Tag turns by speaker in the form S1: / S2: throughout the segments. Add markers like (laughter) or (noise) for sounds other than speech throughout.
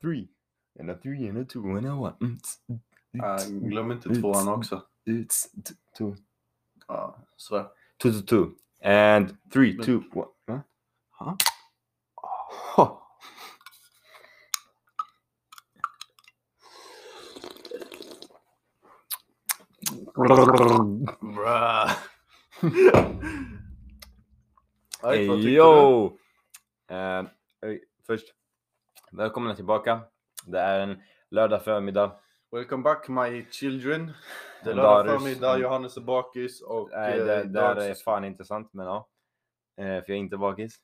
S1: three, and a three, and a two, and a one. Mm, tss, mm,
S2: Eh,
S1: tss,
S2: glöm inte tvåan också.
S1: mm, tss, t- Two,
S2: Ja, så.
S1: two, two, two, and three,
S2: Men-
S1: two, one. Huh? Oh.
S2: Huh?
S1: Huh.
S2: (laughs) Bra.
S1: Hey,
S2: vad tyckte du?
S1: yo! Eh, oj, först, välkomna tillbaka. Det är en lördag förmiddag.
S2: Welcome back my children. Det är
S1: En
S2: lördag
S1: Darius.
S2: förmiddag, Johannes är bakis och...
S1: Nej,
S2: eh,
S1: det det där är
S2: Dags-
S1: fan inte sant, men ja. Eh, för jag är inte bakis.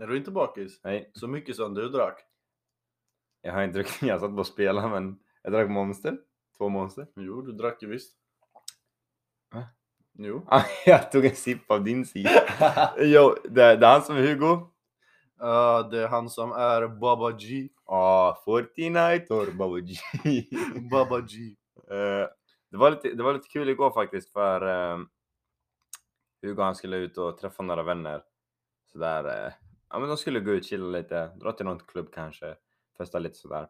S2: Är du inte bakis?
S1: Nej,
S2: Så mycket som du drack.
S1: jag har inte druckit. Jag satt bara och spelade, men jag drack Monster. Två Monster.
S2: Jo, du drack ju visst.
S1: Va?
S2: Jo.
S1: Ah, (laughs) jag tog en sipp av din sida. Jo, det, det är han som är Hugo.
S2: Eh, det är han som är Baba G.
S1: Ah, Fortnite or Baba G. (laughs)
S2: Baba G.
S1: Eh, det, var lite, det var lite kul igår faktiskt för ehm, Hugo han skulle ut och träffa några vänner. Sådär, eh, ja men de skulle gå ut, chilla lite, dra till någon klubb kanske, festa lite sådär.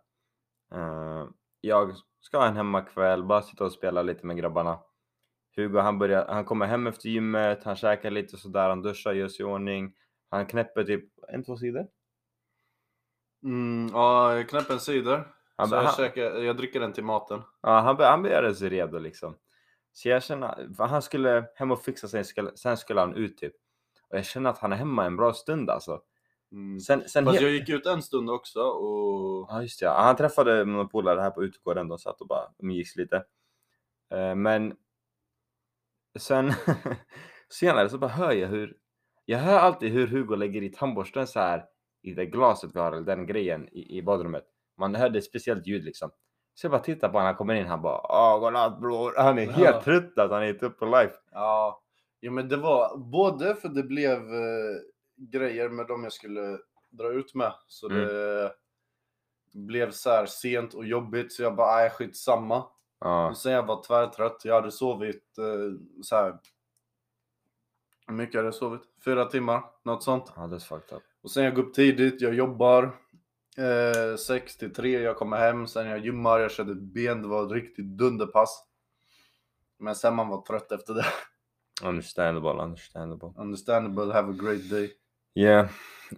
S1: Eh, jag ska ha en hemmakväll, bara sitta och spela lite med grabbarna. Hugo han, börjar, han kommer hem efter gymmet, han käkar lite och sådär, han duschar, gör sig i ordning. Han knäpper typ en, två sidor.
S2: Mm, ja, jag knäpper en cider.
S1: Han,
S2: så
S1: han,
S2: jag, käkar, jag dricker den till maten.
S1: Ja, han, be- han begärde sig redo liksom. Så jag känner, för han skulle hem och fixa sig, skulle- sen skulle han ut typ. Och jag känner att han är hemma en bra stund alltså.
S2: Mm.
S1: Sen, sen
S2: Fast
S1: he-
S2: jag gick ut en stund också och...
S1: Ja just det, ja. han träffade några polare här på utegården, de satt och bara umgicks lite. Eh, Men sen (laughs) senare så bara hör jag hur, jag hör alltid hur Hugo lägger i tandborsten så här i det glaset vi har, eller den grejen i, i badrummet. Man hörde ett speciellt ljud liksom. Så jag bara tittar på honom, han kommer in, han bara "Ah, godnatt bror. Han är helt
S2: Ja.
S1: trött alltså, han är inte upp på life.
S2: Ja, ja men det var både för det blev eh, grejer med dem jag skulle dra ut med. Så
S1: Mm.
S2: det blev så här sent och jobbigt så jag bara, nej skitsamma.
S1: Ja,
S2: Och sen jag var tvärtrött, jag hade sovit eh, så här. Hur mycket hade jag sovit? Fyra timmar, något sånt.
S1: ja that's fucked up.
S2: Och sen jag går upp tidigt, jag jobbar. Eh, 6 till 3, jag kommer hem, sen jag gymmar, jag körde ben, det var ett riktigt dunderpass. Men sen man var trött efter det. (laughs)
S1: Understandable, understandable.
S2: Understandable, have a great day.
S1: Ja,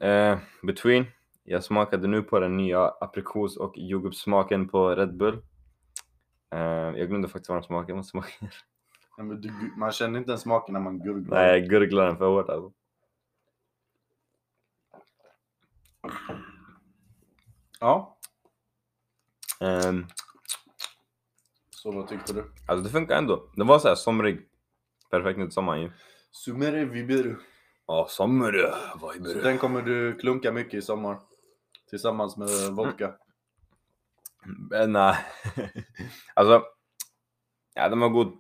S1: eh, between. Jag smakade nu på den nya aprikos och jordgubbssmaken på Red Bull. Eh, jag glömde faktiskt vad den smakade. Jag måste smaka.
S2: Nej, men du, gu- man känner inte ens smaken när man gurglar.
S1: Nej, jag gurglade den för hårt alltså.
S2: Ja,
S1: Ehm,
S2: så vad tyckte du?
S1: alltså det funkar ändå. Den var så här somrig. Perfekt nu till sommaren ju.
S2: Sumere viberu.
S1: Ja, sommar Vad
S2: Så den kommer du klunka mycket i sommar. Tillsammans med
S1: Mm.
S2: vodka.
S1: Men Eh, nej. (laughs) alltså. Ja, den var god.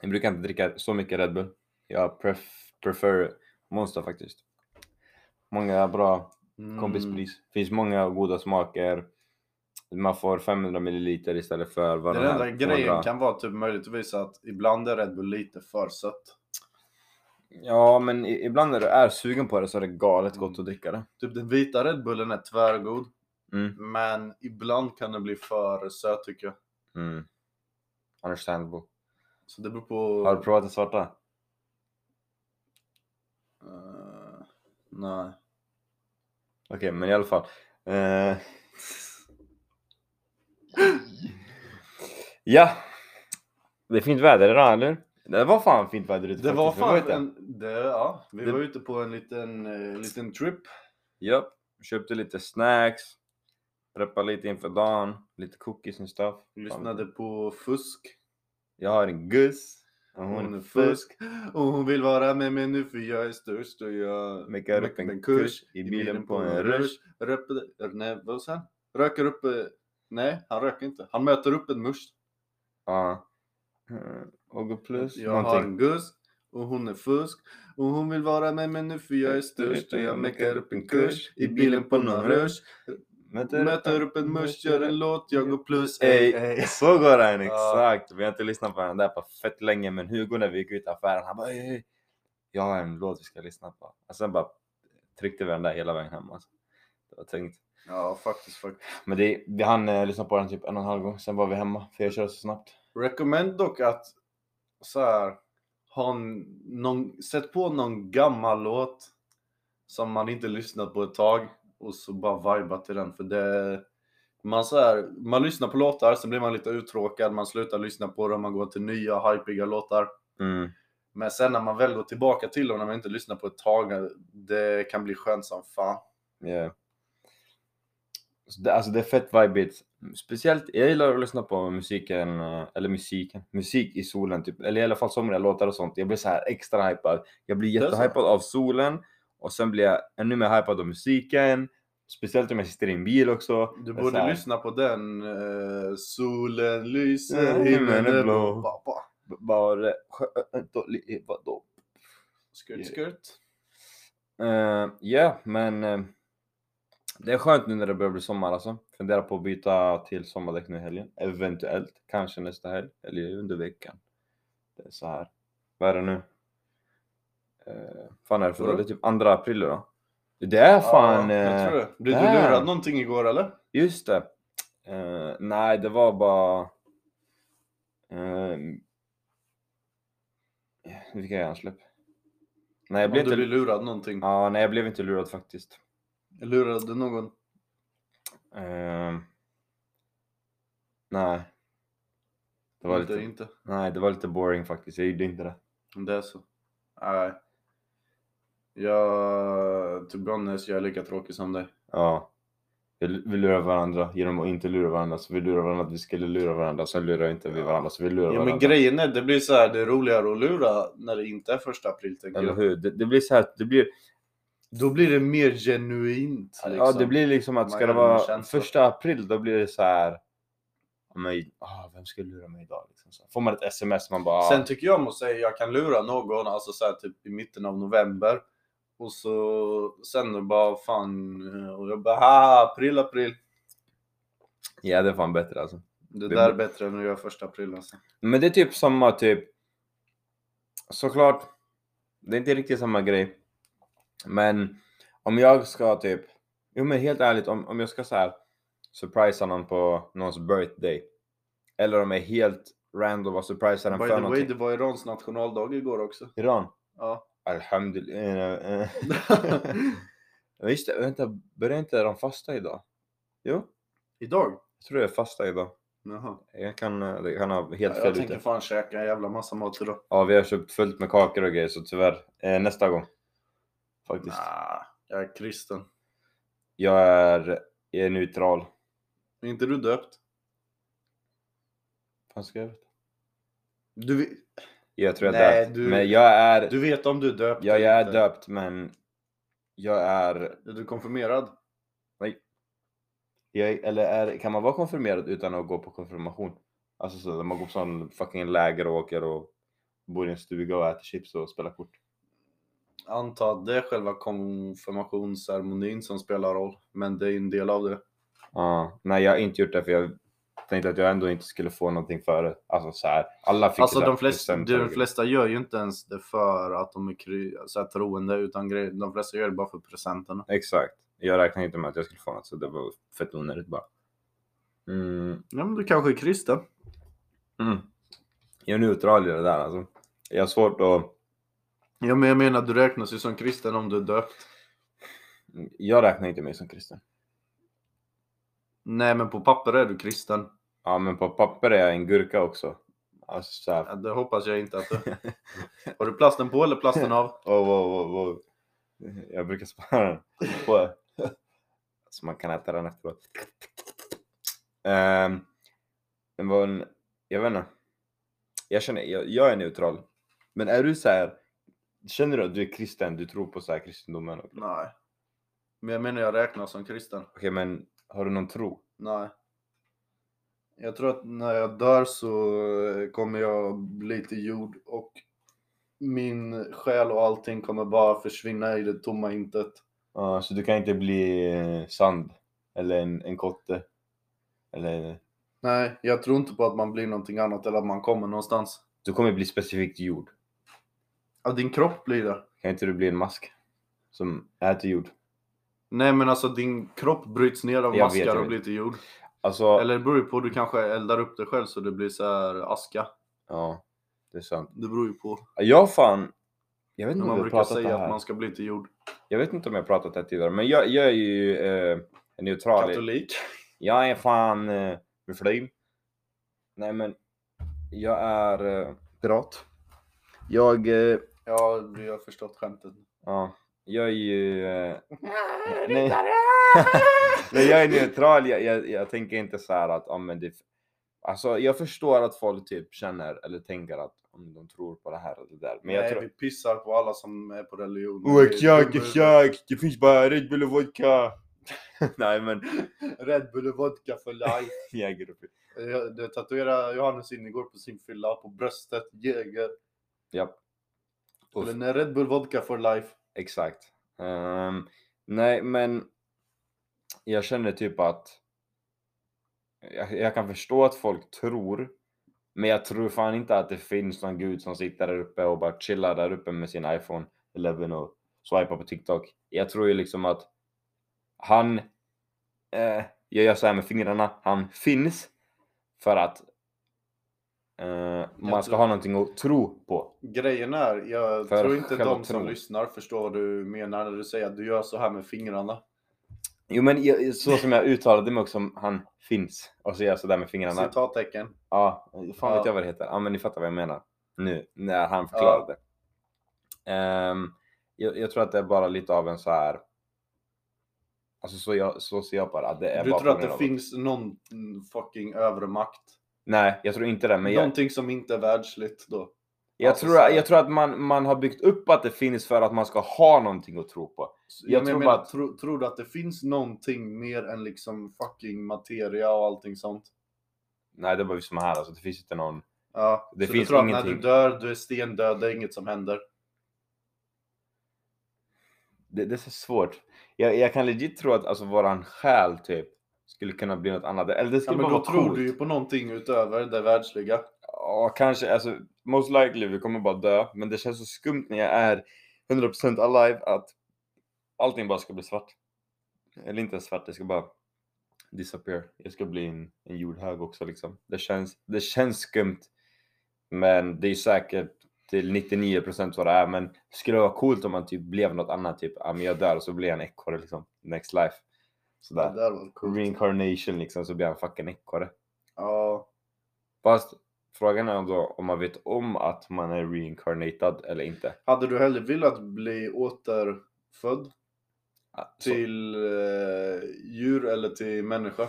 S1: Jag brukar inte dricka så mycket Red Bull. Jag pref- prefer Monster faktiskt. Många bra
S2: Mm.
S1: kompispris. Finns många goda smaker. Man får 500 milliliter istället för vad
S2: Mm. Den
S1: de här
S2: enda grejen
S1: 200.
S2: kan vara typ möjligtvis att ibland är Red Bull lite för sött.
S1: Ja, men i- ibland när du är sugen på det så är det galet gott att dricka det.
S2: Typ den vita Red Bullen är tvärgod.
S1: Mm.
S2: Men ibland kan den bli för söt tycker jag.
S1: Mm. Understandable.
S2: Så det beror på...
S1: Har du provat den svarta?
S2: Eh, nej.
S1: Okej, men i alla fall. Eh. (laughs) ja. Det är fint väder idag, eller? Det var fan fint väder ute
S2: Det var
S1: faktiskt. Vi
S2: fan
S1: ute.
S2: en... Det, ja, vi
S1: Det-
S2: var ute på en liten, eh, liten trip.
S1: Japp, köpte lite snacks, preppade lite inför dagen, lite cookies and stuff.
S2: Lyssnade på fusk.
S1: Jag har en guss, och hon, är fusk.
S2: Och hon vill vara med mig nu för jag är störst och jag
S1: Mekar upp en kurs i bilen på en rush.
S2: Röper, nej, vad sa han? Röker upp, eh, nej han röker inte. Han möter upp en murs.
S1: Ja. Mm, Och gå Ah, plus
S2: jag har
S1: någonting.
S2: en guss och hon är fusk. Och hon vill vara med mig nu för jag är störst och jag mekar upp en kurs i bilen på en rush. Möter upp en murs,
S1: (laughs)
S2: gör en låt, jag går plus.
S1: Ey,
S2: ey, ey.
S1: så går den
S2: Ja.
S1: exakt! Vi har inte lyssnat på den där på fett länge men Hugo när vi gick ut i affären han bara ey, ey, Jag har en låt vi ska lyssna på. Och sen bara tryckte vi den där hela vägen hem alltså. Det var tänkt.
S2: (laughs) Ja, faktiskt. faktiskt.
S1: Men det, vi hann eh, lyssna på den typ en och en halv gång, sen var vi hemma för jag körde så snabbt.
S2: Recommend dock att så här, ha en, någon, sätt på någon gammal låt som man inte lyssnat på ett tag och så bara vibba till den. För det, man, så här, man lyssnar på låtar, sen blir man lite uttråkad, man slutar lyssna på dem, man går till nya hypiga låtar.
S1: Mm.
S2: Men sen när man väl går tillbaka till dem, när man inte lyssnar på ett tag, det kan bli skönt som fan.
S1: Yeah. Så det, alltså det är fett vibigt. Speciellt, jag gillar att lyssna på musiken, eh, eller musiken, musik i solen typ. Eller i alla fall somriga låtar och sånt. Jag blir så här extra hypad. Jag blir
S2: är så.
S1: jättehypad av solen och sen blir jag ännu mer hypad av musiken. Speciellt om jag sitter i en bil också.
S2: Du
S1: Det är
S2: borde
S1: så här,
S2: lyssna på den. eh, solen lyser,
S1: Ja,
S2: himlen är blå. Ba, ba.
S1: b- eh, Bara skönt att leva då.
S2: Skurt,
S1: Yeah.
S2: skurt.
S1: Eh, Ja, men eh, det är skönt nu när det börjar bli sommar alltså. Funderar på att byta till sommardäck nu i helgen. Eventuellt, kanske nästa helg eller under veckan. Det är så här. Vad är det nu? Uh, fan är det för dag?
S2: Vadå?
S1: Det är typ 2 april då. Det är fan...
S2: Ja, jag
S1: eh,
S2: tror det. Blev du
S1: där.
S2: lurad någonting igår eller?
S1: Just det. Eh, nej, det var bara... Uh, vilka hjärnsläpp? Nej, jag
S2: Om
S1: blev,
S2: du
S1: inte,
S2: blev lurad någonting.
S1: ja, nej, jag blev inte lurad faktiskt.
S2: Lurade någon?
S1: Ehm, nej. Det var,
S2: inte,
S1: lite,
S2: inte.
S1: nej, det var lite boring faktiskt. Jag gjorde inte det.
S2: Om det är så. Nej. Jag, to be honest, jag är lika tråkig som dig.
S1: Ja. Vi, vi lurar varandra genom att inte lura varandra. Så vi lurar varandra att vi skulle lura varandra. Sen lurar inte vi
S2: Ja.
S1: varandra. Så vi lurar
S2: Ja men
S1: varandra.
S2: grejen är, det blir så här, det är roligare att lura när det inte är första april tänker
S1: Eller
S2: jag.
S1: hur? Det, det blir så här. Det blir,
S2: Då blir det mer genuint.
S1: Ja,
S2: liksom.
S1: det blir liksom att
S2: Man
S1: ska det
S2: gör det med
S1: vara
S2: känsla.
S1: första april. Då blir det så här. ja, Men, ah, vem ska lura mig idag? Liksom så. här. Får man ett sms man bara.
S2: Sen tycker jag måste säga, jag kan lura någon, alltså så här, typ i mitten av november. Och så sen är det bara fan, och jag bara "Ah, april, april.
S1: ja, det är fan bättre alltså.
S2: Det
S1: Det-
S2: där är bättre än att göra första april alltså.
S1: Men det är typ samma typ. Såklart. Det är inte riktigt samma grej. Men om jag ska typ. Jo men helt ärligt om, om jag ska så här. Surprisa någon på någons birthday. Eller om jag är helt random och surprisar den
S2: By
S1: för
S2: the way,
S1: någonting.
S2: det var Irans nationaldag igår också.
S1: Iran. (laughs)
S2: Ja. (laughs)
S1: Alhamdulillah. (laughs) Men Just det, vänta. Börjar inte de fasta idag? Jo,
S2: Idag?
S1: jag tror det är fasta idag.
S2: Jaha.
S1: Jag kan, eh, jag kan ha
S2: Ja,
S1: helt
S2: jag
S1: fel
S2: tänker
S1: ute.
S2: fan käka en jävla massa mat idag.
S1: Ja, vi har köpt fullt med kakor och grejer så tyvärr. Eh, nästa gång. Faktiskt.
S2: Nah, jag är kristen.
S1: Jag är, jag är neutral.
S2: Är inte du döpt?
S1: Fan ska jag veta?
S2: Du, vet-
S1: Jag tror jag är
S2: Nej,
S1: döpt.
S2: du-
S1: Men jag är,
S2: du vet om du är döpt?
S1: ja, jag
S2: eller
S1: är
S2: inte.
S1: döpt men jag är,
S2: Är du konfirmerad?
S1: jag, är- eller är, kan man vara konfirmerad utan att gå på konfirmation? Alltså så när man går på sån fucking läger och åker och bor i en stuga och äter chips och spelar kort.
S2: Anta att det är själva konfirmationsceremonin som spelar roll. Men det är en del av det.
S1: Ja, nej jag har inte gjort det för jag tänkte att jag ändå inte skulle få någonting före. Alltså så här, alla fick
S2: Alltså
S1: det där
S2: de flesta,
S1: presenter och
S2: de
S1: grejer.
S2: flesta gör ju inte ens det för att de är kry- så här, troende utan grejer. De flesta gör det bara för presenterna.
S1: Exakt. Jag räknade inte med att jag skulle få något så det var fett onödigt bara. Mm.
S2: Ja men du kanske är kristen?
S1: Mm. Jag är neutral i det där alltså. Jag har svårt att...
S2: Ja men jag menar du räknas ju som kristen om du är döpt.
S1: Jag räknar inte mig som kristen.
S2: Nej men på papper är du kristen.
S1: Ja men på papper är jag en gurka också. Alltså så här.
S2: (laughs) Ja, Det hoppas jag inte att du... Har du plasten på eller (laughs) plasten av?
S1: Oh, oh, oh, oh. Jag brukar spara den. På. Så man kan äta den efteråt. Ehm, det var en, jag vet inte. Jag känner, jag, jag är neutral. Men är du så här, känner du att du är kristen, du tror på så här kristendomen? Okej
S2: Nej. Men jag menar jag räknas som kristen.
S1: men har du någon tro?
S2: Nej. Jag tror att när jag dör så eh, kommer jag bli till jord och min själ och allting kommer bara försvinna i det tomma intet.
S1: Ja, så du kan inte bli eh, sand eller en, en kotte? Eller,
S2: Nej, jag tror inte på att man blir någonting annat eller att man kommer någonstans.
S1: du kommer bli specifikt jord.
S2: Ja, din kropp blir det.
S1: Kan inte du bli en mask som äter jord?
S2: Nej men alltså din kropp bryts ner av
S1: Jag vet, jag
S2: maskar och
S1: vet.
S2: blir till jord.
S1: Alltså,
S2: Eller det beror ju på, du kanske eldar upp dig själv så det blir så här aska.
S1: ja, det är sant.
S2: Det beror ju på.
S1: Jag har fan, jag vet inte
S2: Men
S1: om
S2: man
S1: jag har
S2: brukar
S1: pratat det
S2: säga att
S1: här.
S2: man ska bli till jord.
S1: Jag vet inte om jag har pratat det här tidigare, men jag, jag är ju eh, neutral. i-
S2: Katolik.
S1: Jag är fan eh, muslim. Nej men, jag är eh, pirat. Jag, eh,
S2: Ja, du har förstått skämtet.
S1: ja, jag är ju... Eh, nej.
S2: (laughs)
S1: nej, jag är neutral. Jag, jag, jag tänker inte så här att, ja men det... Alltså jag förstår att folk typ känner eller tänker att om de tror på det här eller det där. Men jag
S2: Nej,
S1: tror...
S2: vi pissar på alla som är på religion.
S1: Åh,
S2: Vi är
S1: exakt,
S2: dumma.
S1: exakt! Det finns bara Red Bull och vodka! Nej men,
S2: Red Bull och vodka för life.
S1: jäger upp.
S2: Jag- Du tatuerade Johannes in igår på sin fylla på bröstet, Jäger.
S1: Ja. Uff.
S2: Eller när Red Bull vodka for life.
S1: Exakt. Ehm, nej men, jag känner typ att jag, jag kan förstå att folk tror, men jag tror fan inte att det finns någon gud som sitter där uppe och bara chillar där uppe med sin iPhone 11 och swipar på TikTok. Jag tror ju liksom att han, eh, jag gör så här med fingrarna, han finns för att eh, man ska
S2: tror-
S1: ha någonting att tro på.
S2: Grejen är, jag
S1: För
S2: tror inte
S1: själva
S2: de som
S1: tron.
S2: lyssnar förstår vad du menar när du säger att du gör så här med fingrarna.
S1: Jo men jag, så som jag uttalade mig också, han finns. Och så gör jag sådär med fingrarna.
S2: Citattecken.
S1: Ja, fan vet
S2: Ja.
S1: jag vad det heter. Ja men ni fattar vad jag menar. Nu när han förklarade. Ehm, jag, jag tror att det är bara lite av en så här. Alltså så, jag, så ser jag på det. att det är
S2: Du
S1: bara
S2: tror
S1: på
S2: att
S1: grund
S2: det
S1: av-
S2: finns någon mm, fucking övre makt.
S1: Nej, jag tror inte det. Men jag,
S2: Någonting som inte är världsligt då.
S1: jag,
S2: Alltså,
S1: tror,
S2: så här-
S1: jag tror att man, man har byggt upp att det finns för att man ska ha någonting att tro på.
S2: Så
S1: Jag
S2: Jag,
S1: tror
S2: menar,
S1: bara att-
S2: tro, tror du att det finns någonting mer än liksom fucking materia och allting sånt?
S1: Nej, det är bara vi som är här. Alltså, det finns inte någon.
S2: Ja,
S1: Det
S2: så
S1: finns
S2: du tror att när
S1: ingenting.
S2: du dör, du är stendöd, det är inget som händer.
S1: Det, det är så svårt. Jag, jag kan legit tro att alltså, våran själ typ skulle kunna bli något annat. Eller det
S2: Ja,
S1: skulle
S2: men
S1: bara
S2: då
S1: vara
S2: tror
S1: coolt.
S2: du ju på någonting utöver det världsliga.
S1: Ja, kanske. Alltså, most likely, vi kommer bara dö. Men det känns så skumt när jag är 100% alive att allting bara ska bli svart. Eller inte ens svart, det ska bara disappear. Jag ska bli en, en jordhög också liksom. Det känns, det känns skumt. Men det är säkert till 99% vad det är. Men det skulle vara coolt om man typ blev något annat. Typ, ja men jag dör och så blir jag en ekorre liksom. Next life.
S2: Det
S1: Sådär.
S2: där var coolt.
S1: Reincarnation liksom, så blir jag en fucking ekorre.
S2: Ja,
S1: Fast frågan är då om man vet om att man är reincarnated eller inte.
S2: hade du hellre velat bli återfödd
S1: Ja, så-
S2: till eh, djur eller till människa?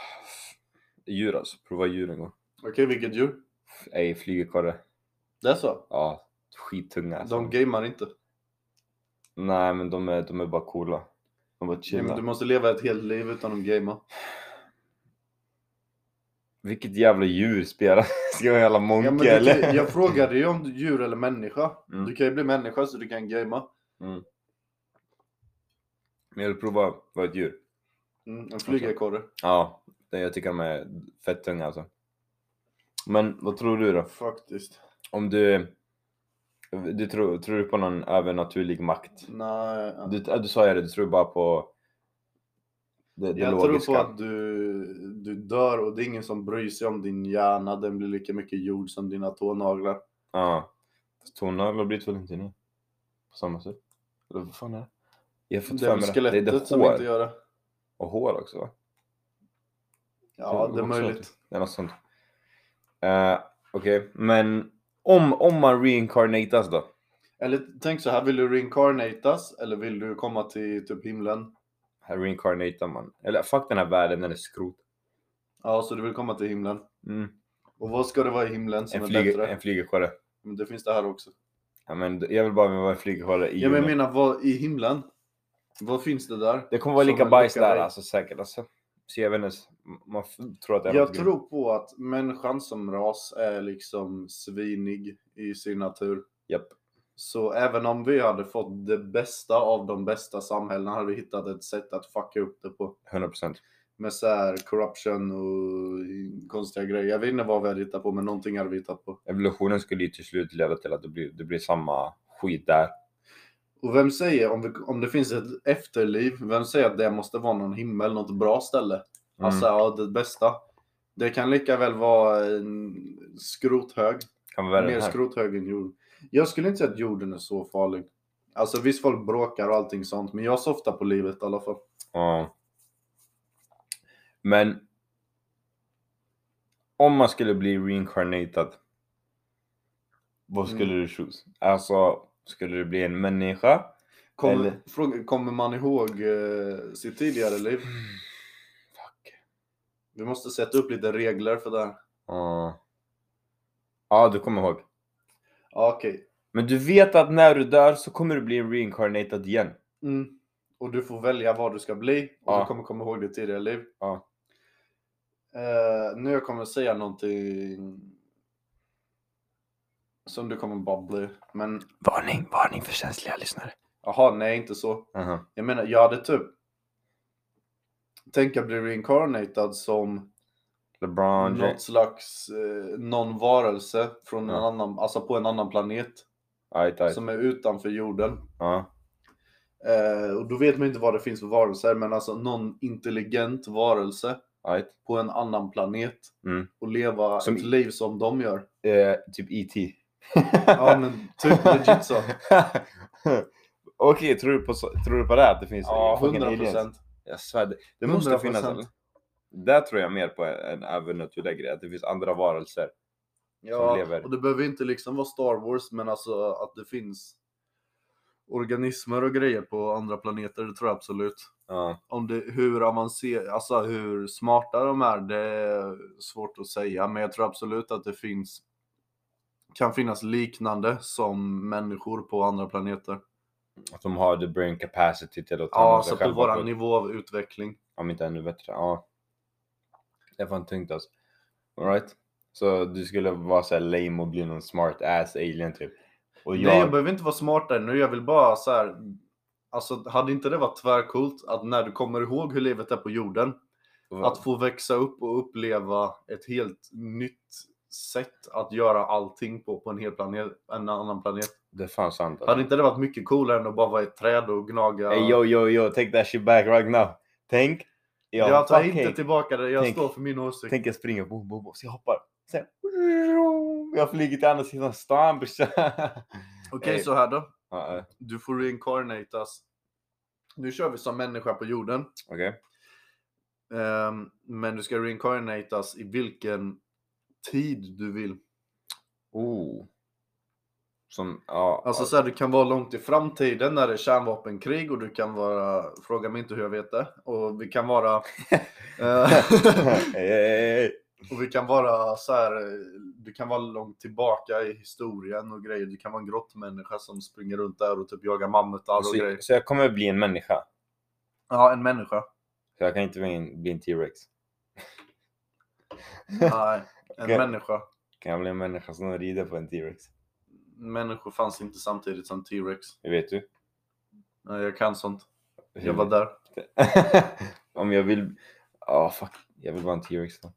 S1: (sighs) Djur alltså, prova djur en gång.
S2: Okej, vilket djur?
S1: Ej, flygekorre.
S2: Det är så?
S1: Ja, skittunga alltså.
S2: De gamear inte.
S1: Nej men de är, de är bara coola. De är bara
S2: Nej,
S1: chilla.
S2: men du måste leva ett helt liv utan att gamea.
S1: Vilket jävla djur spelar? (laughs) Ska jag vara jävla monke
S2: Ja, men du,
S1: eller?
S2: kan- jag frågade ju om du- djur eller människa.
S1: Mm.
S2: Du kan ju bli människa så du kan gamea.
S1: Men jag vill prova att vara ett djur.
S2: Mm, en flygekorre.
S1: Ja, det- jag tycker de är fett tunga alltså. Men vad tror du då?
S2: Faktiskt.
S1: Om du... Du tror, tror du på någon övernaturlig makt?
S2: Nej.
S1: Du, äh, du sa ju det, du tror bara på det, det
S2: jag
S1: logiska.
S2: tror på att du, du dör och det är ingen som bryr sig om din hjärna. Den blir lika mycket jord som dina tånaglar.
S1: Ja. Fast Tånaglar blir det väl inte nu? På samma sätt? Eller vad fan är det? Jag har fått
S2: Det
S1: för
S2: är väl
S1: mig det. Det är
S2: skelettet
S1: det
S2: som
S1: hår.
S2: inte gör det.
S1: Och hår också va?
S2: Ja,
S1: Det
S2: det är
S1: också
S2: möjligt.
S1: Det är något sånt. Eh, Okej, men om, om man reincarnatas då?
S2: Eller tänk så här, vill du reincarnatas eller vill du komma till typ himlen?
S1: Här reincarnatar man. Eller fuck den här världen, den är skrot.
S2: Ja, så du vill komma till himlen.
S1: Mm.
S2: Och vad ska det vara i himlen som
S1: En,
S2: är
S1: flyge,
S2: bättre?
S1: en flygekorre.
S2: Men Det finns det här också.
S1: Ja, men jag vill bara vara en flygekorre i
S2: Ja, men jag
S1: djungeln.
S2: menar, vad, i himlen? Vad finns det där?
S1: Det kommer vara
S2: som
S1: lika
S2: en
S1: bajs
S2: lyckad
S1: där
S2: dig.
S1: alltså säkert alltså. Så jag vet inte, ens- man f- tror att det är
S2: Jag
S1: något
S2: tror på att människan som ras är liksom svinig i sin natur.
S1: Japp.
S2: Så även om vi hade fått det bästa av de bästa samhällena hade vi hittat ett sätt att fucka upp det på.
S1: 100%.
S2: Med så här corruption och konstiga grejer. Jag vet inte vad vi hade hittat på men någonting hade vi hittat på. Mm.
S1: Evolutionen skulle ju till slut leda till att det blir, det blir samma skit där.
S2: Och vem säger, om, vi, om det finns ett efterliv, vem säger att det måste vara någon himmel, något bra ställe?
S1: Mm.
S2: Alltså, ja, det bästa. Det kan lika väl vara en skrothög.
S1: Kan vara värre
S2: mer
S1: än här.
S2: skrothög än jorden. Jag skulle inte säga att jorden är så farlig. Alltså visst folk bråkar och allting sånt, men jag softar på livet i alla fall.
S1: Ja. Men om man skulle bli reincarnated, vad
S2: Mm.
S1: skulle du choose? Alltså, skulle du bli en människa?
S2: Kommer,
S1: Eller-
S2: fråga, kommer man ihåg eh, sitt tidigare liv?
S1: Fuck.
S2: Vi måste sätta upp lite regler för det här.
S1: Ja. Ja, du kommer ihåg.
S2: Ja, okej.
S1: Men du vet att när du dör så kommer du bli reincarnated igen.
S2: Mm. Och du får välja vad du ska bli och
S1: Ja.
S2: du kommer komma ihåg ditt tidigare liv.
S1: Ja.
S2: Eh, nu jag kommer säga någonting som du kommer bara bli. Men
S1: Varning, varning för känsliga lyssnare.
S2: jaha, nej inte så. Jag menar, jag hade typ tänka bli reincarnated som
S1: LeBron
S2: något
S1: James.
S2: slags eh, någon varelse från en
S1: Ja.
S2: annan, alltså på en annan planet
S1: Ajt, ajt.
S2: som är utanför jorden.
S1: Ja.
S2: Eh, och då vet man inte vad det finns för varelser, men alltså någon intelligent varelse
S1: Ajt.
S2: på en annan planet
S1: Mm.
S2: och leva
S1: Som
S2: ett
S1: i-
S2: liv som de gör.
S1: Eh, typ E.T.
S2: Ja, men
S1: (laughs)
S2: typ legit så.
S1: Okej, tror du på, så- tror du på det? Att det finns
S2: Ja,
S1: fucking
S2: 100
S1: aliens?
S2: procent.
S1: Jag svär, det, det måste finnas.
S2: 100%.
S1: Där tror jag mer på en övernaturlig grej, att det finns andra varelser.
S2: Ja,
S1: lever.
S2: och det behöver inte liksom vara Star Wars, men alltså att det finns organismer och grejer på andra planeter, det tror jag absolut.
S1: Ja,
S2: Om det, hur avancerat, alltså hur smarta de är, det är svårt att säga, men jag tror absolut att det finns kan finnas liknande som människor på andra planeter.
S1: att de har the brain capacity till att ta hand
S2: Ja,
S1: om sig
S2: så på
S1: själva.
S2: våran
S1: på-
S2: nivå av utveckling.
S1: Om inte ännu bättre. Ja. Det är fan tungt alltså. Alright. Så du skulle vara så här lame och bli någon smart ass alien typ. Och
S2: Nej,
S1: jag...
S2: jag behöver inte vara smartare nu. Jag vill bara så här. Alltså, hade inte det varit tvärcoolt att när du kommer ihåg hur livet är på jorden, att få växa upp och uppleva ett helt nytt sätt att göra allting på, på en hel planet, en annan planet.
S1: Det är fan sant
S2: Hade
S1: alltså.
S2: inte det varit mycket coolare än att bara vara i ett träd och gnaga?
S1: Hey, yo, yo, yo, take that shit back right now. Tänk. Ja,
S2: jag tar
S1: fucking-
S2: inte tillbaka det. Jag
S1: Tänk-
S2: står för min åsikt.
S1: Tänk jag springer, boom, boom, boom, så jag hoppar. Sen, jag flyger till andra sidan stan brorsan. (laughs)
S2: Okej,
S1: Hey.
S2: så här då.
S1: Ja, eh, ja,
S2: Du får reincarnatas. Nu kör vi som människa på jorden.
S1: Okej.
S2: Ehm, men du ska reincarnatas i vilken tid du vill.
S1: Oh. Som, ja.
S2: Alltså så här, du kan vara långt i framtiden när det är kärnvapenkrig och du kan vara, fråga mig inte hur jag vet det, och vi kan vara...
S1: (laughs)
S2: eh, (laughs)
S1: Hey, hey, hey.
S2: och vi kan vara så här, eh, du kan vara långt tillbaka i historien och grejer. Du kan vara en grottmänniska som springer runt där och typ jagar mammutar och
S1: Så,
S2: grejer.
S1: så jag kommer bli en människa.
S2: Ja, en människa.
S1: Så jag kan inte bli en, bli en T-rex.
S2: Nej, en
S1: Okej.
S2: människa.
S1: Kan jag bli en människa som rider på en T-rex?
S2: Människor fanns inte samtidigt som T-Rex.
S1: Det vet du.
S2: Nej, Jag kan sånt. Jag var där.
S1: (laughs) Om jag vill... Ja, fuck. Jag vill vara en T-rex då.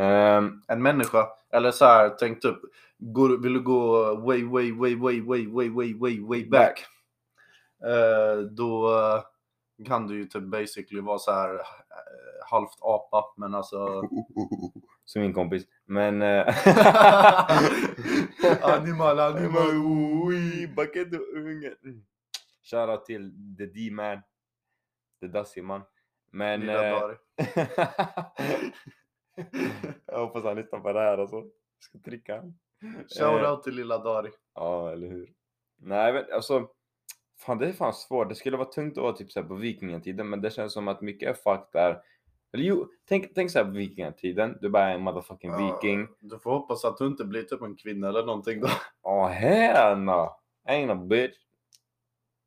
S1: Ehm,
S2: en människa. Eller så här, tänk typ, går, vill du gå way, way, way, way, way, way, way, way, way back. Eh, då eh, kan du ju typ basically vara så här eh, halvt apa,
S1: (laughs)
S2: men alltså...
S1: som min kompis. Men... eh, (laughs)
S2: animal,
S1: Det
S2: animal.
S1: var oj, Bucket och ungen. Mm. Shoutout till the D-man. The Dusty man. Men...
S2: Lilla
S1: eh,
S2: Dari.
S1: (laughs) jag hoppas han lyssnar på det här alltså. Jag ska trycka han. eh.
S2: Shoutout till lilla Dari.
S1: Ja, eller hur. Nej, men alltså. Fan, det är fan svårt. Det skulle vara tungt att vara typ så här på vikingatiden, men det känns som att mycket är fuck där. Eller jo, tänk, tänk så här på vikingatiden. Du bara är en motherfucking viking.
S2: Du får hoppas att du inte blir typ en kvinna eller någonting då.
S1: Åh, oh, hell no. I ain't a bitch.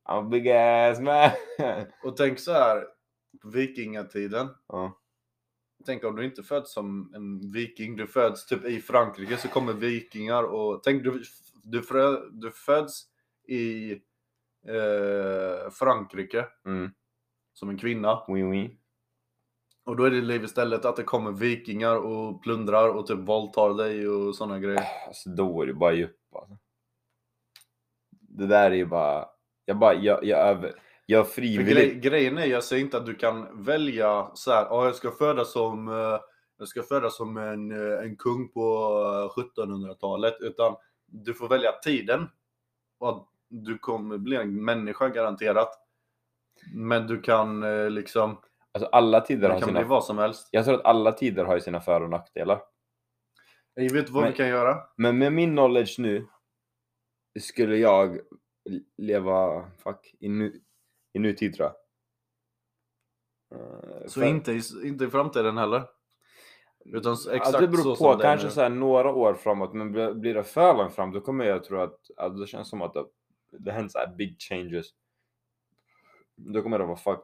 S1: I'm a big ass man. (laughs)
S2: Och tänk så här, på vikingatiden,
S1: Ja.
S2: Tänk om du inte föds som en viking, du föds typ i Frankrike så kommer vikingar och tänk du, du, frö, du föds i eh, Frankrike
S1: Mm.
S2: som en kvinna
S1: Oui, oui.
S2: och då är ditt liv istället att det kommer vikingar och plundrar och typ våldtar dig och sådana grejer.
S1: Alltså då är det bara djup alltså. Det där är ju bara... Jag bara, jag, jag, över, jag
S2: För grej,
S1: frivilligt.
S2: grejen är, jag säger inte att du kan välja så här, "Ja, jag ska födas som, eh, jag ska födas som en, eh, en kung på eh, 1700-talet, utan du får välja tiden. Och att du kommer bli en människa garanterat. Men du kan eh, liksom,
S1: Alltså alla tider
S2: du
S1: har
S2: kan bli
S1: sina...
S2: vad som helst.
S1: Jag tror att alla tider har ju sina för och nackdelar.
S2: Jag vet vad
S1: Men-
S2: vi kan göra?
S1: Men med min knowledge nu skulle jag leva, fuck, i, nu, i nutid tror jag. Eh,
S2: Så
S1: för-
S2: inte, i, inte i framtiden heller? Utan s- exakt
S1: Exakt det beror
S2: så
S1: på,
S2: som det är
S1: kanske
S2: nu.
S1: så här några år framåt, men blir- blir det för långt fram då kommer jag tro att, att det känns som att det, det händer så här big changes. Då kommer det vara fuck.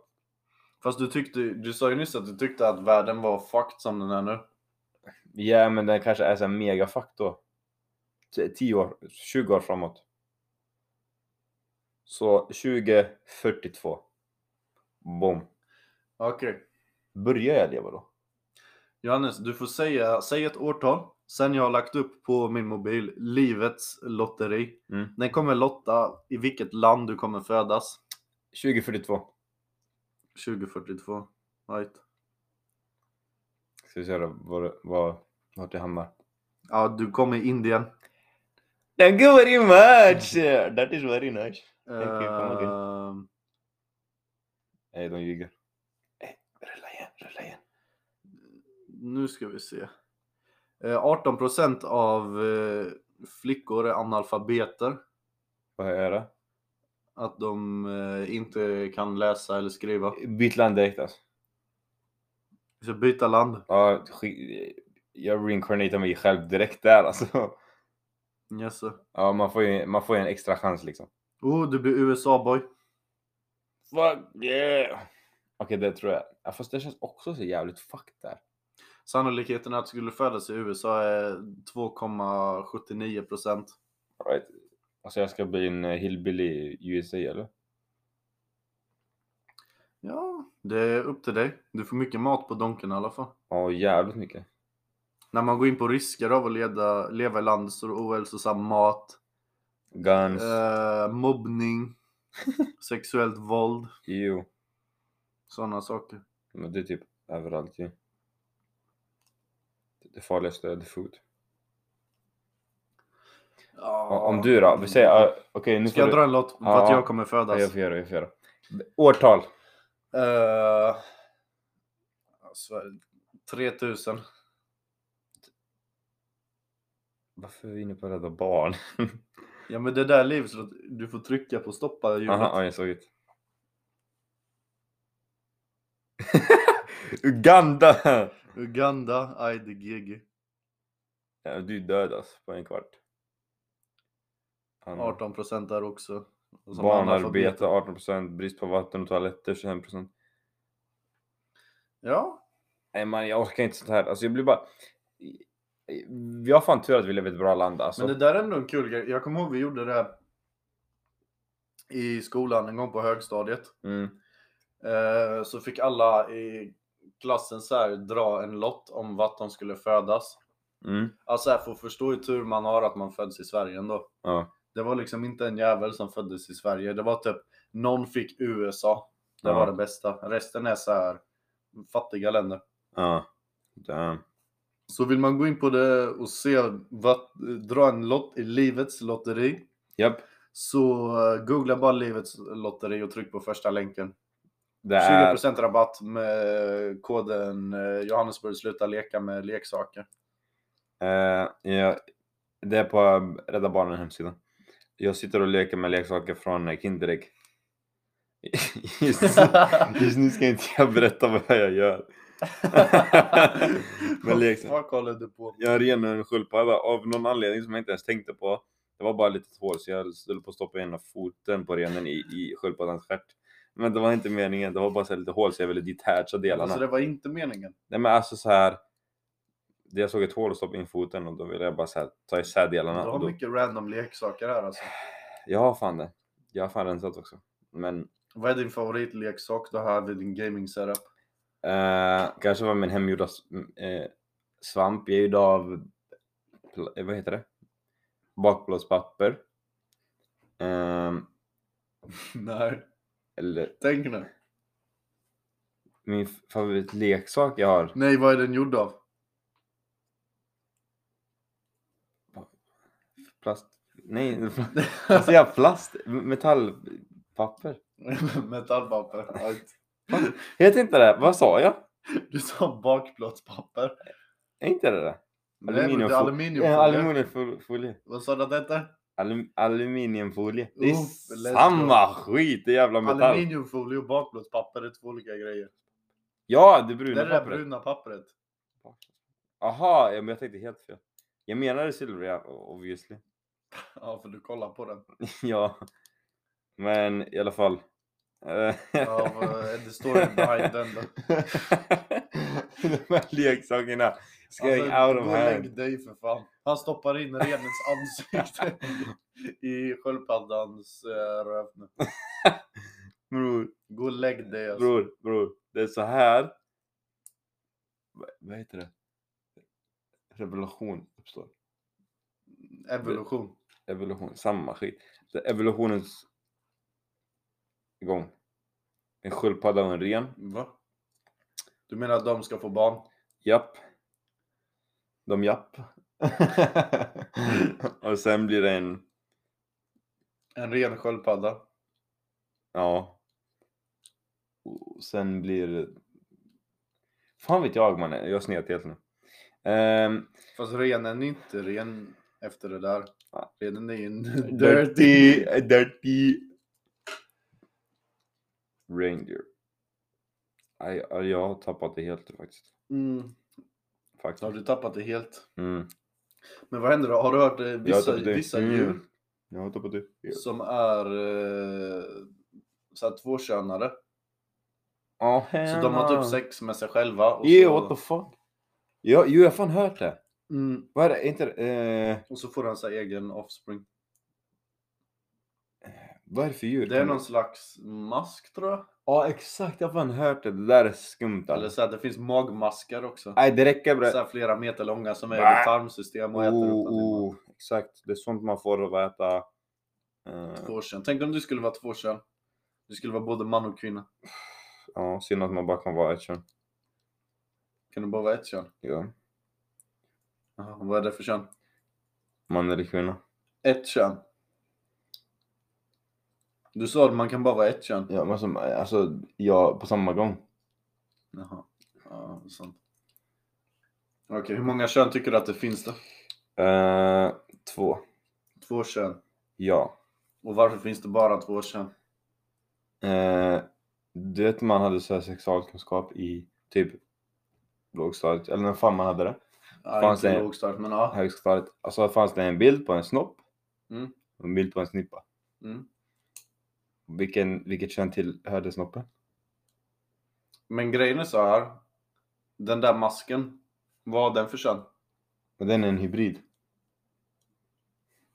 S2: Fast du tyckte, du sa ju nyss att du tyckte att världen var fucked som den är nu.
S1: Ja men det kanske är så här mega fuck då. T- 10 år, 20 år framåt. Så 2042. Bom.
S2: Okej.
S1: Börjar jag leva då?
S2: Johannes, du får säga, säg ett årtal. Sen jag har lagt upp på min mobil, Livets lotteri.
S1: Mm.
S2: Den kommer lotta i vilket land du kommer födas.
S1: 2042.
S2: 2042. Right.
S1: Ska vi se då, var, var, vart jag hamnar.
S2: Ja, du kom i Indien.
S1: Thank you very much! That is very nice. Thank you, kom igen.
S2: Ehm,
S1: Nej, de ljuger. Nej, Rulla igen, rulla igen.
S2: nu ska vi se. Eh, 18% av eh, flickor är analfabeter.
S1: Vad har jag att göra?
S2: Att de eh, inte kan läsa eller skriva.
S1: Byt land direkt alltså.
S2: Vi ska byta land.
S1: Ja, sk- jag reincarnatar mig själv direkt där alltså.
S2: Yes. sir.
S1: Ja, man får ju, man får ju en extra chans liksom.
S2: Oh, du blir USA-boy.
S1: Fuck yeah! Okej, det tror jag. Ja, fast det känns också så jävligt fuck där.
S2: Sannolikheten att du skulle födas i USA är 2,79 procent.
S1: Right. Alltså jag ska bli en eh, hillbilly i USA eller?
S2: Ja, det är upp till dig. Du får mycket mat på Donken i alla fall.
S1: Ja, jävligt mycket.
S2: När man går in på risker av att leda, leva i landet så är det ohälsosam mat,
S1: Guns.
S2: eh, mobbning,
S1: (laughs)
S2: sexuellt våld,
S1: Jo.
S2: sådana saker.
S1: E Men det är typ överallt ju. Det farligaste är the food. Ja, Om du då? Vi säger, ja, okej nu
S2: Ska jag
S1: får
S2: dra en låt för
S1: Ja.
S2: att jag kommer
S1: du...
S2: födas?
S1: Jag får göra, jag får göra. Årtal.
S2: Eh, alltså, 3000.
S1: Varför är vi inne på rädda barn?
S2: Ja men det där livet, så att du får trycka på stoppa ljudet.
S1: Aha, ja, jag såg det. (laughs) Uganda!
S2: Uganda, Aide GG.
S1: Ja, du dödas på en kvart. Han-
S2: 18 procent där också. Och som analfabet.
S1: Barnarbete 18%, brist på vatten och toaletter 25%.
S2: Ja,
S1: Nej man, jag orkar inte sånt här. Alltså jag blir bara... Vi har fan tur att vi lever i ett bra land alltså.
S2: men det där är ändå en kul grej. Jag kommer ihåg vi gjorde det här i skolan en gång på högstadiet.
S1: Mm.
S2: Eh, så fick alla i klassen så här dra en lott om vart de skulle födas.
S1: Mm.
S2: Alltså här, för att förstå hur tur man har att man föds i Sverige ändå.
S1: Ja.
S2: Det var liksom inte en jävel som föddes i Sverige. Det var typ någon fick USA. Det
S1: Ja.
S2: var det bästa. Resten är så här fattiga länder.
S1: Ja. Damn.
S2: Så vill man gå in på det och se vad, dra en lott i livets lotteri
S1: Japp.
S2: så eh, googla bara livets lotteri och tryck på första länken.
S1: Det är...
S2: 20% rabatt med koden eh, Johannesburg sluta leka
S1: (laughs)
S2: med leksaker.
S1: Eh, ja, det är på eh, Rädda Barnen hemsida. Jag sitter och leker med leksaker från eh, Kinderägg. (laughs) Just, just nu ska inte jag berätta vad jag
S2: (laughs)
S1: gör. Men leksaker.
S2: Vad kollar du på?
S1: Jag renade en sköldpadda av någon anledning som jag inte ens tänkte på. Det var bara ett litet hål så jag höll på att stoppa ena foten på renen i, i sköldpaddans stjärt. Men det var inte meningen, det var bara så här lite hål så jag ville detacha delarna.
S2: Alltså det var inte meningen.
S1: Nej men alltså så här. det- Jag såg ett hål och stoppade in foten och då ville jag bara så här, ta isär
S2: Du
S1: delarna. och
S2: har
S1: då...
S2: mycket random leksaker här alltså.
S1: Jag har fan det. Jag har fan rensat också. Men
S2: Vad är din favoritleksak du har vid din
S1: (laughs)
S2: gaming setup?
S1: eh, kanske var min hemgjorda s- m- eh, svamp. Jag är gjord av, pl- eh, vad heter det? Bakblåspapper. Ehm,
S2: Nej,
S1: Eller
S2: tänk nu.
S1: min favoritleksak jag har.
S2: Nej, vad är den gjord av? (laughs)
S1: Plast. Nej, (laughs) alltså jag plast. Metallpapper.
S2: Metallpapper. Allt.
S1: Heter inte det? Vad sa jag?
S2: Du sa bakplåtspapper.
S1: Är inte det det?
S2: Nej, men det är aluminiumfolie.
S1: Ja, aluminiumfolie.
S2: Vad sa du att det hette?
S1: Alum, aluminiumfolie. Det är
S2: Uff, let's go.
S1: samma skit, det är jävla metall.
S2: Aluminiumfolie och bakplåtspapper är två olika grejer.
S1: Ja, det
S2: Det
S1: bruna
S2: är det där
S1: pappret.
S2: bruna pappret.
S1: Aha, ja, men jag tänkte helt fel. Jag menade silver, ja, obviously. (laughs)
S2: Ja, för du kollar på den.
S1: ja. Men i alla fall. Eh,
S2: Ja, vad är det storyn behind den då?
S1: (laughs) De här leksakerna. It's getting out
S2: Alltså, gå
S1: of
S2: och
S1: hand.
S2: lägg dig för fan. Han stoppar in renens ansikte (laughs) i sköldpaddans eh, röv nu.
S1: Bror,
S2: Gå och lägg dig alltså.
S1: bror, bror. Det är så här. Vad- Vad heter det? Revolution uppstår.
S2: Evolution.
S1: Evolution, samma skit. Det är evolutionens gång. En sköldpadda och en ren.
S2: Va? Du menar att de ska få barn?
S1: Japp. De (laughs) japp. och sen blir det en,
S2: En ren sköldpadda?
S1: ja. Och sen blir det... Fan vet jag mannen, jag snet helt nu. Ehm,
S2: Fast renen är inte ren efter det där. Renen är ju en
S1: dirty,
S2: dirty.
S1: dirty. Ranger. Aj, aj, jag har tappat det helt faktiskt.
S2: Mm. Har
S1: faktiskt.
S2: du tappat det helt?
S1: Mm.
S2: Men vad händer då? Har du hört eh,
S1: Jag har
S2: vissa,
S1: tappat det.
S2: vissa
S1: Mm.
S2: djur
S1: Jag har tappat det.
S2: som är eh, så här tvåkönade?
S1: Oh,
S2: Så de har typ sex med sig själva. Och
S1: Yeah,
S2: så,
S1: what the fuck? Ja, jo, jag har fan hört det.
S2: mm,
S1: Vad är det? Är Inte, det- eh,
S2: och så får han sin egen offspring.
S1: vad är det för djur?
S2: Det är
S1: Kan-
S2: någon slags mask tror jag.
S1: Ja, exakt. Jag har fan hört det. Det där är skumt
S2: Eller
S1: alltså.
S2: så här, det finns magmaskar också.
S1: Nej, det räcker
S2: Så
S1: bre.
S2: här, flera meter långa som är i
S1: Va?
S2: ditt tarmsystem och äter upp
S1: Oh,
S2: allting.
S1: oh, exakt. Det är sånt man får av att äta. Eh,
S2: Tvåkön. Tänk om du skulle vara tvåkön. Du skulle vara både man och kvinna.
S1: ja, synd att man bara kan vara ett kön.
S2: Kan du bara vara ett kön?
S1: Ja.
S2: Jaha, vad är det för kön?
S1: Man eller kvinna.
S2: Ett kön. Du sa att man kan bara vara ett kön.
S1: Ja, men som, alltså, ja, på samma gång.
S2: Jaha. Ja, sant. Okej, hur många kön tycker du att det finns då?
S1: Eh, två.
S2: Två kön.
S1: Ja.
S2: Och varför finns det bara två kön?
S1: Eh, du vet man hade så här sexualkunskap i typ lågstadiet, eller när fan man hade det.
S2: Ja,
S1: Fan,
S2: inte
S1: säger-
S2: lågstart, men ja.
S1: högstadiet. Och Alltså, så fanns det en bild på en snopp.
S2: Mm.
S1: Och en bild på en snippa.
S2: Mm.
S1: Vilken, vilket kön tillhörde snoppen?
S2: Men grejen är så här. Den där masken, vad har den för kön?
S1: Men den är en hybrid.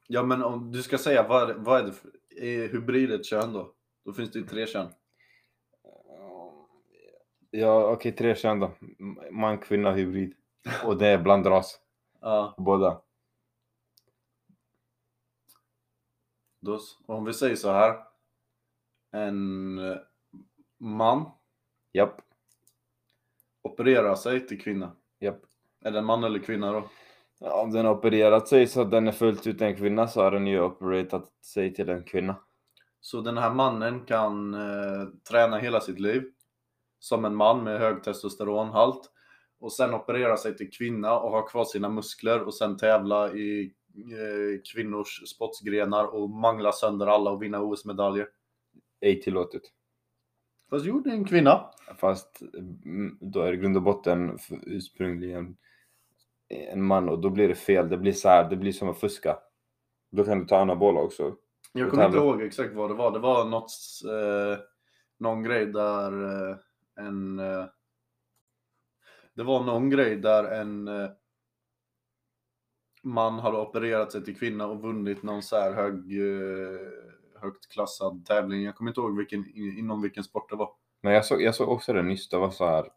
S2: Ja, men om du ska säga vad, är- vad är det för... eh, Är hybrid ett kön då? Då finns det ju tre kön.
S1: Ja, okej, tre kön då. M- Man, kvinna, (laughs) hybrid. Och det är blandras.
S2: Ja,
S1: Båda.
S2: då, s- om vi säger så här. En eh, man
S1: Japp,
S2: opererar sig till kvinna.
S1: japp.
S2: Är det en man eller kvinna då?
S1: Ja, om den har opererat sig så att den är fullt ut en kvinna så har den ju opererat sig till en kvinna.
S2: Så den här mannen kan eh, träna hela sitt liv som en man med hög testosteronhalt och sen operera sig till kvinna och ha kvar sina muskler och sen tävla i eh, kvinnors sportsgrenar och mangla sönder alla och vinna OS-medaljer.
S1: Ej tillåtet.
S2: Fast jo, det är en kvinna.
S1: Fast mm, då är det grund och botten f- ursprungligen en man och då blir det fel. Det blir så här, det blir som att fuska. Då kan du ta anabola också.
S2: Jag
S1: Och
S2: kommer inte
S1: tävla.
S2: ihåg exakt vad det var. Det var något, eh, någon grej där eh, en... Eh, det var någon grej där en eh, man hade opererat sig till kvinna och vunnit någon så här hög, eh, högt klassad tävling. Jag kommer inte ihåg vilken, in- inom vilken sport det var.
S1: Men jag såg, jag såg också det nyss, det var så här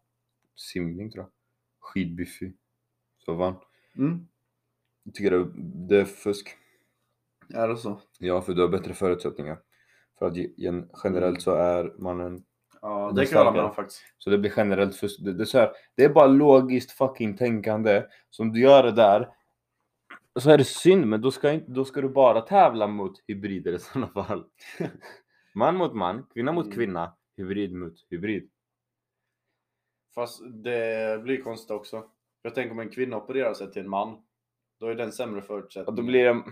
S1: simning tror jag. Skidbiffy. Så vann.
S2: Mm.
S1: Jag tycker det, det är fusk.
S2: Är det så?
S1: Ja, för du har bättre förutsättningar. För att ge- gen- generellt så är mannen
S2: Ja,
S1: Den
S2: det
S1: är
S2: kan jag hålla
S1: starkare.
S2: med om faktiskt.
S1: Så det blir generellt fusk. Det, det, är så här, det är bara logiskt fucking tänkande. Så om du gör det där så är det synd, men då ska, inte, då ska du bara tävla mot hybrider i sådana fall. (laughs) man mot man, kvinna mot
S2: Mm.
S1: kvinna, hybrid mot hybrid.
S2: Fast det blir konstigt också. Jag tänker om en kvinna opererar sig till en man, då är den sämre förutsättning.
S1: Och då blir det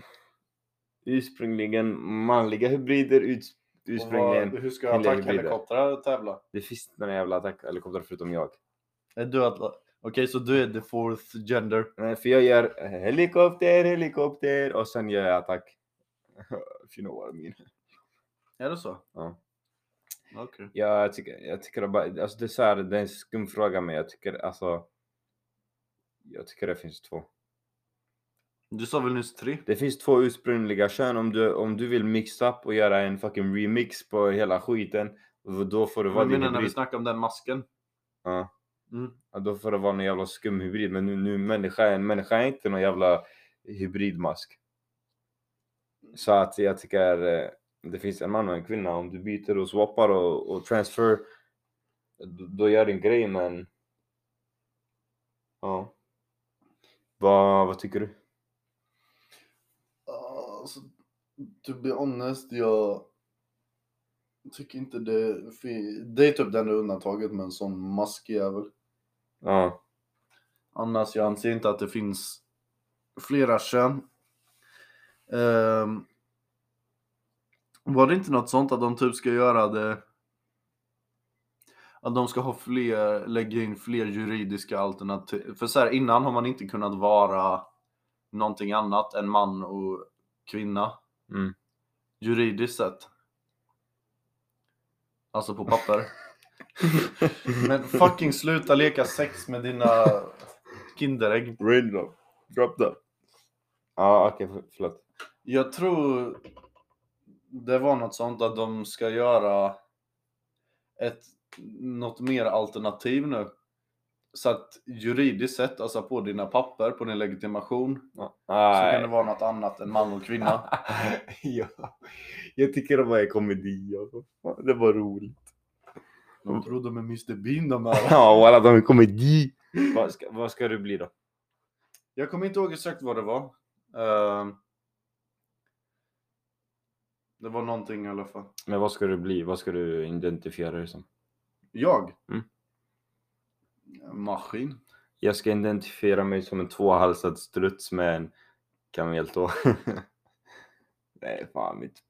S1: ursprungligen manliga hybrider uts- ursprungligen.
S2: Hur ska
S1: kvinnliga
S2: attackhelikoptrar tävla?
S1: Det finns några jävla attackhelikoptrar förutom jag.
S2: Är Eh, du att... Okej, så du är the fourth gender.
S1: Nej, för jag gör helikopter, helikopter och sen gör jag attack. (laughs) If you know what I mean.
S2: Är det så?
S1: Ja.
S2: Okej.
S1: Jag tycker, jag tycker det bara, alltså det är så här, det är en skum fråga men jag tycker alltså. Jag tycker det finns två.
S2: Du sa väl nyss tre?
S1: Det finns två ursprungliga kön om du, om du vill mixa upp och göra en fucking remix på hela skiten. Då får det vara
S2: Vad
S1: din
S2: menar när vi
S1: hybrid.
S2: snackade om den masken?
S1: Ja.
S2: Mm.
S1: Ja, Då får det vara någon jävla skum hybrid. Men nu, nu människa, en människa är inte någon jävla hybridmask. Så att jag tycker eh, det finns en man och en kvinna. Om du byter och swappar och, och transfer. Då, då gör din grej men. Ja. Vad, vad tycker du?
S2: Alltså, to be honest, jag tycker inte det... fi- Det är typ det enda undantaget med en sån maskjävel.
S1: Ja.
S2: Annars, jag anser inte att det finns flera kön. Ehm, var det inte något sånt att de typ ska göra det... Att de ska ha fler, lägga in fler juridiska alternativ. För så här, innan har man inte kunnat vara någonting annat än man och kvinna.
S1: Mm.
S2: Juridiskt sett. Alltså på papper. Men fucking sluta leka sex med dina Kinderägg.
S1: Rain drop. Drop that. Ja okej för, förlåt.
S2: Jag tror det var något sånt att de ska göra ett, något mer alternativ nu. Så att juridiskt sett, alltså på dina papper, på din legitimation, så kan det vara något annat än man och kvinna.
S1: (laughs)
S2: (laughs)
S1: ja. Jag tycker det bara är komedi. alltså. Det var roligt.
S2: De tror de är Mr Bean de här.
S1: Ja, och alla de är komedi. Vad ska, vad ska du bli då?
S2: Jag kommer inte ihåg exakt vad det var. Ehm, det var någonting i alla fall.
S1: Men vad ska du bli? Vad ska du identifiera dig som?
S2: Jag?
S1: Mm.
S2: Maskin.
S1: Jag ska identifiera mig som en tvåhalsad struts med en (laughs) kameltå. det är fan mitt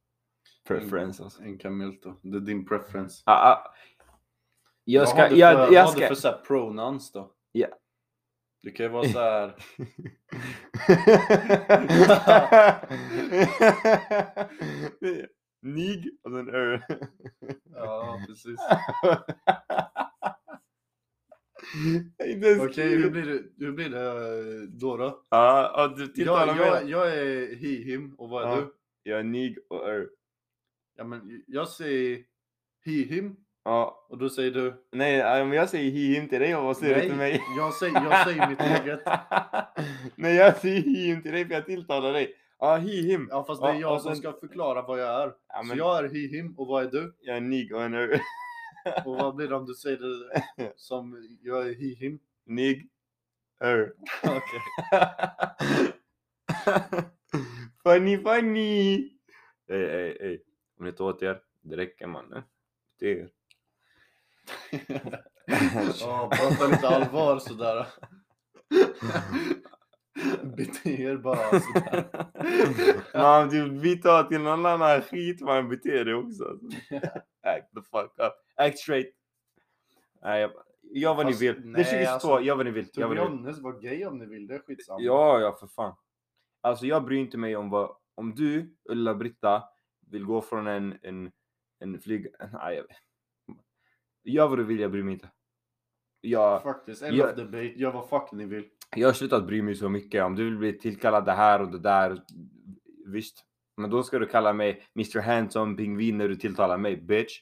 S1: preference alltså.
S2: En kamelto. Det är din preference.
S1: Ah, ah. Jag
S2: Vad
S1: ska,
S2: har du
S1: jag,
S2: för,
S1: jag
S2: Vad har
S1: (laughs) ska...
S2: du för så här pronouns då?
S1: Ja.
S2: Det kan ju vara så här.
S1: (laughs) Nig och sen (laughs) ö.
S2: ja, precis.
S1: Inte ens
S2: (laughs) Okej, hur
S1: kul.
S2: blir det, hur blir det då? då?
S1: Ja, ja, du tilltalar
S2: Jag,
S1: mig.
S2: jag, jag är hihim och vad är
S1: Ja.
S2: du?
S1: Jag är nig och är.
S2: Ja, men jag säger hihim
S1: Ja,
S2: och då säger du?
S1: nej, ja, men jag säger him till dig och vad säger du till mig?
S2: jag säger, jag
S1: (laughs)
S2: säger mitt eget.
S1: nej, jag säger him till dig för jag tilltalar dig. Ja, him.
S2: Ja, fast det är
S1: Ja,
S2: jag
S1: och
S2: som
S1: sen-
S2: ska förklara vad jag är.
S1: Ja,
S2: Så
S1: men jag...
S2: jag är hihim och vad är du?
S1: är nig och en ö. (laughs)
S2: Och vad blir det om du säger det som jag är hihim?
S1: Nig, ö.
S2: (laughs) Okej.
S1: (laughs) funny, funny! Ey, ey, ey. Om ni tar åt er, det räcker mannen. Det
S2: (laughs)
S1: är... (laughs)
S2: Ja, prata lite allvar sådär. Bete er bara sådär.
S1: Man vill byta typ, till någon annan skit man beter dig också.
S2: (laughs)
S1: alltså. Act the fuck up. Act straight. Nej, jag- gör vad ni
S2: Fast
S1: vill. Det
S2: nej,
S1: är 2022,
S2: alltså,
S1: gör vad ni vill. Gör
S2: To
S1: vad
S2: be
S1: ni vill.
S2: honest, var gay om ni vill, det är skitsamma.
S1: Ja, ja för fan. Alltså jag bryr inte mig om vad, om du Ulla-Britta vill gå från en, en, en flyg... (laughs) Nej, jag vet. Gör vad du vill, jag bryr mig inte. Jag,
S2: Faktiskt, end
S1: Ja.
S2: of debate, gör vad fuck ni vill.
S1: jag har slutat bry mig så mycket. Om du vill bli tillkallad det här och det där, visst. Men
S2: (laughs)
S1: då ska du kalla mig Mr Handsome Pingvin när du tilltalar mig, bitch.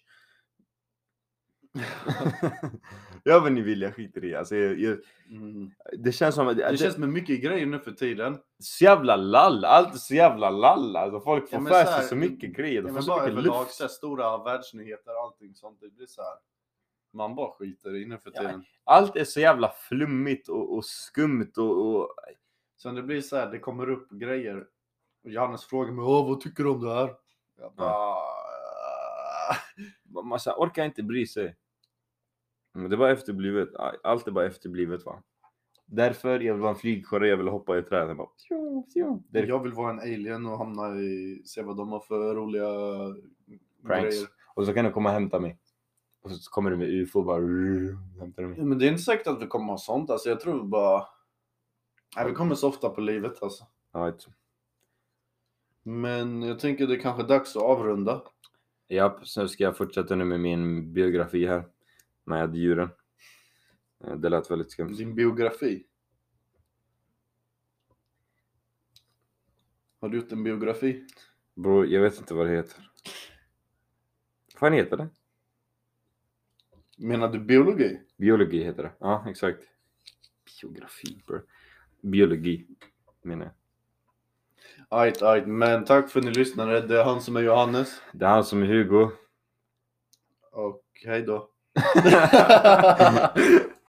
S1: Gör vad ni vill, jag skiter i. Alltså, jag, jag,
S2: Mm.
S1: det känns som att det,
S2: Det känns med mycket grejer nu för tiden.
S1: så jävla lall. Allt är så jävla lall. Alltså, folk får
S2: Ja, men
S1: för
S2: så
S1: sig
S2: här,
S1: så mycket grejer. De
S2: Ja,
S1: får
S2: men
S1: så
S2: bara
S1: mycket
S2: överlag,
S1: luft.
S2: så här, stora världsnyheter allting sånt. Det blir så här. Man bara skiter i nu för
S1: Ja.
S2: tiden.
S1: Allt är så jävla flummigt och, och skumt och, och
S2: Sen det blir så här, det kommer upp grejer. Och Johannes frågar mig, "Åh, vad tycker du om det här? Jag bara...
S1: man man så här, orkar inte bry sig. Men det var efterblivet. Allt är bara efterblivet va. Därför jag vill vara en flygkorre, jag vill hoppa i träden. Bara, tjo, tjo. Det är
S2: Jag vill vara en alien och hamna i, se vad de har för roliga
S1: Pranks.
S2: grejer.
S1: Och så kan du komma och hämta mig. Och så kommer du med ufo och bara (laughs) rrrr, hämtar du mig.
S2: Ja, men det är inte säkert att vi kommer ha sånt. Alltså, jag tror bara... Nej, vi kommer softa på livet alltså.
S1: Ja, ett-
S2: Men jag tänker det är kanske dags att avrunda.
S1: Japp, så ska jag fortsätta nu med min biografi här. Med djuren. Eh, Det lät väldigt skumt.
S2: Din biografi. Har du gjort en biografi?
S1: Bror, jag vet inte vad det heter. Vad fan heter det?
S2: Menar du biologi?
S1: Biologi heter det. Ja, exakt. Biografi, bro. Biologi, menar jag.
S2: Ajt, ajt, men tack för att ni lyssnade. Det är han som är Johannes.
S1: Det är han som är Hugo. (laughs)
S2: Och hej då.